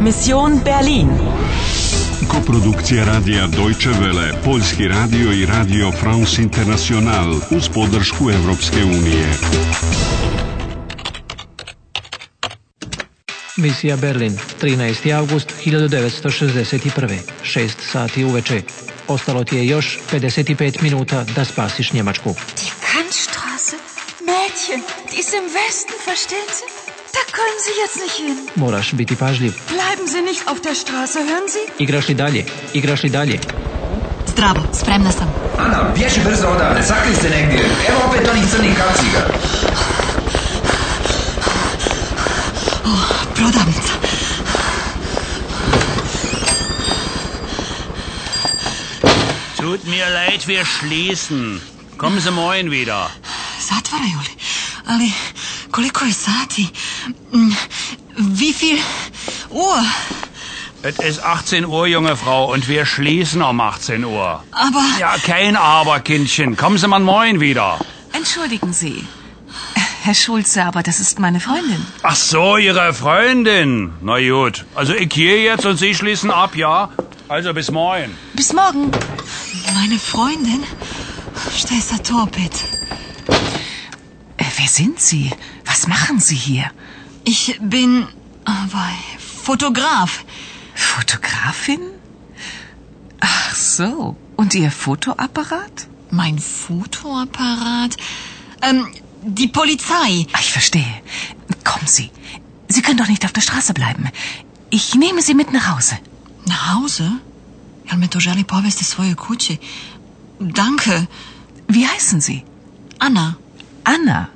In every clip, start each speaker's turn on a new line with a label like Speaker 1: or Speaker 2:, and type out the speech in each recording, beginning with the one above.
Speaker 1: Mission Berlin.
Speaker 2: Koprodukcija radija Deutsche Welle, Poljski radio i radio France International uz podršku Europske unije.
Speaker 3: Misija Berlin, 13. avgust 1961. 6 sati uveče. Ostalo ti je još 55 minuta da spasiš Njemačku.
Speaker 4: Die Kantstraße? Mädchen, die ist im Westen, verstehen Sie? Da können Sie jetzt nicht hin.
Speaker 3: Moraš biti pažljiv.
Speaker 4: Bleiben Sie nicht auf der Straße, hören Sie?
Speaker 3: Igraš li dalje? Igraš li dalje?
Speaker 5: Zdravo, spremna sam.
Speaker 6: Ana, bježi brzo odavde, sakri se negdje. Evo opet onih crnih kaciga.
Speaker 5: Prodavnica.
Speaker 7: Tut mir leid, wir schließen. Kommen Sie morgen wieder.
Speaker 5: Zatvaraju li? Ali koliko je sati? Mm, Wie viel Uhr?
Speaker 7: Es ist 18 Uhr, junge Frau, und wir schließen um 18 Uhr.
Speaker 5: Aber
Speaker 7: Ja, kein Aber, Kindchen. Kommen Sie mal morgen wieder.
Speaker 8: Entschuldigen Sie. Herr Schulze, aber das ist meine Freundin.
Speaker 7: Ach so, Ihre Freundin. Na gut. Also ich gehe jetzt und Sie schließen ab, ja? Also bis morgen.
Speaker 4: Bis morgen.
Speaker 5: meine Freundin? Šta je sad to opet?
Speaker 8: Äh, wer sind Sie? Was machen Sie hier?
Speaker 5: Ich bin ovaj, Fotograf.
Speaker 8: Fotografin? Ach so. Und Ihr Fotoapparat?
Speaker 5: Mein Fotoapparat. Ähm, die Polizei.
Speaker 8: Ah, Ich verstehe. Kommen Sie. Sie können doch nicht auf der Straße bleiben. Ich nehme Sie mit nach Hause.
Speaker 5: Na Hause? Jel me to želi povesti svojoj kući? Danke,
Speaker 8: Wie heißen Sie?
Speaker 5: Anna.
Speaker 8: Anna.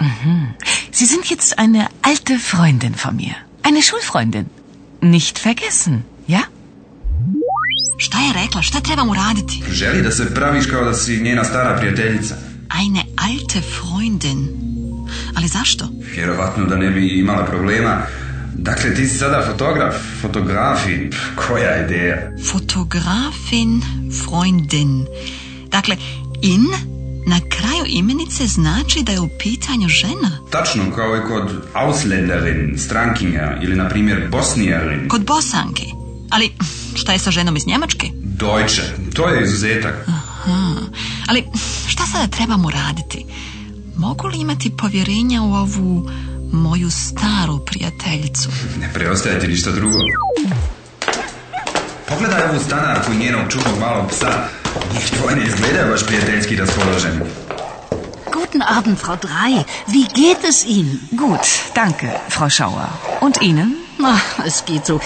Speaker 8: Mhm. Sie sind jetzt eine alte Freundin von mir. Eine Schulfreundin. Nicht vergessen, ja?
Speaker 5: Šta je rekla? Šta trebam uraditi?
Speaker 6: Želi da se praviš kao da si njena stara prijateljica.
Speaker 5: Eine alte Freundin. Ali zašto?
Speaker 6: Vjerovatno da ne bi imala problema. Dakle, ti si sada fotograf, fotografi, pf, koja ideja.
Speaker 5: Fotografin, Freundin. Dakle, in na kraju imenice znači da je u pitanju žena.
Speaker 6: Tačno kao i kod Ausländerin, strankinja ili na primjer Bosnijarin.
Speaker 5: Kod bosanke. Ali šta je sa ženom iz Njemačke?
Speaker 6: Deutsche, to je izuzetak.
Speaker 5: Aha. Ali šta sada trebam uraditi? Mogu li imati povjerenja u ovu moju staru prijateljicu?
Speaker 6: Ne preostaje ti ništa drugo. Pogledaj ovu stanarku i njenog čudnog malog psa. Njih dvoje ne izgledaju baš prijateljski raspoloženi.
Speaker 9: Guten Abend, Frau Drei. Wie geht es Ihnen?
Speaker 8: Gut, danke, Frau Schauer. Und Ihnen?
Speaker 9: Ach, es geht so.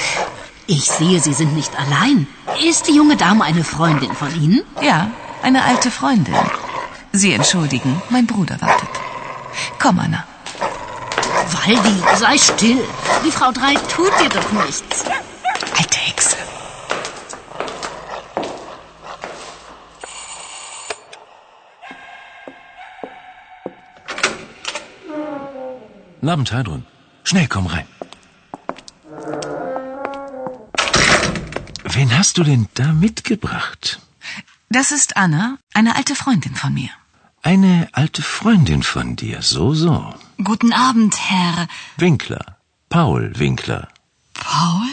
Speaker 9: Ich sehe, Sie sind nicht allein. Ist die junge Dame eine Freundin von Ihnen?
Speaker 8: Ja, eine alte Freundin. Sie entschuldigen, mein Bruder wartet. Komm, Anna.
Speaker 9: Waldi, sei still. Die Frau Drei tut dir doch nichts.
Speaker 8: Alte Hexe.
Speaker 10: Guten Abend, Heidrun. Schnell, komm rein. Wen hast du denn da mitgebracht?
Speaker 8: Das ist Anna, eine alte Freundin von mir.
Speaker 10: Eine alte Freundin von dir, so, so.
Speaker 5: Guten Abend, Herr
Speaker 10: Winkler. Paul Winkler.
Speaker 5: Paul?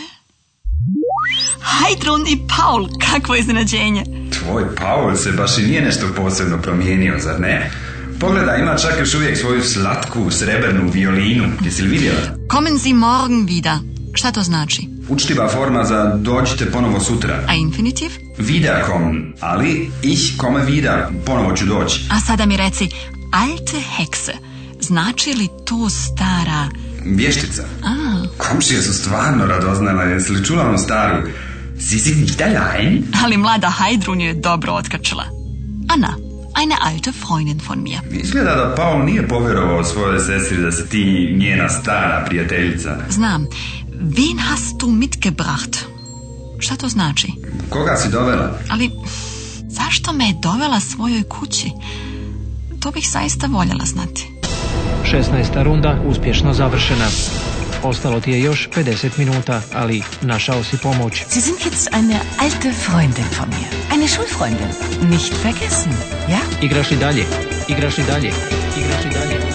Speaker 5: Heidrun i Paul, kakvo iznenađenje.
Speaker 6: Tvoj Paul se baš i nije nešto posebno promijenio, zar ne? Pogledaj, ima čak još uvijek svoju slatku srebrnu violinu. Jesi li vidjela?
Speaker 5: Kommen Sie morgen wieder. Šta to znači?
Speaker 6: Učtiva forma za dođite ponovo sutra.
Speaker 5: A infinitiv?
Speaker 6: Vidakom, ali ich komme wieder, ponovo ću doći.
Speaker 5: A sada mi reci, alte hekse, znači li to stara? Ah.
Speaker 6: Vještica.
Speaker 5: A,
Speaker 6: Komšije su stvarno radoznala, jesi li čula onu staru? Si e? si nicht allein?
Speaker 5: ali mlada Heidrun ju je dobro otkačila. Ana, eine alte Freundin von mir.
Speaker 6: Izgleda da Paul nije povjerovao svojoj sestri da si ti njena stara prijateljica.
Speaker 5: Znam, wen hast du mitgebracht? Šta to znači?
Speaker 6: Koga si dovela?
Speaker 5: Ali, zašto me je dovela svojoj kući? To bih zaista voljela znati.
Speaker 3: 16. runda uspješno završena. Ostalo ti je još 50 minuta, ali našao si pomoć.
Speaker 8: Sie sind jetzt eine alte Freundin von mir. Eine Schulfreundin. Nicht vergessen, ja?
Speaker 3: Igraš li dalje? Igraš li dalje? Igraš li dalje?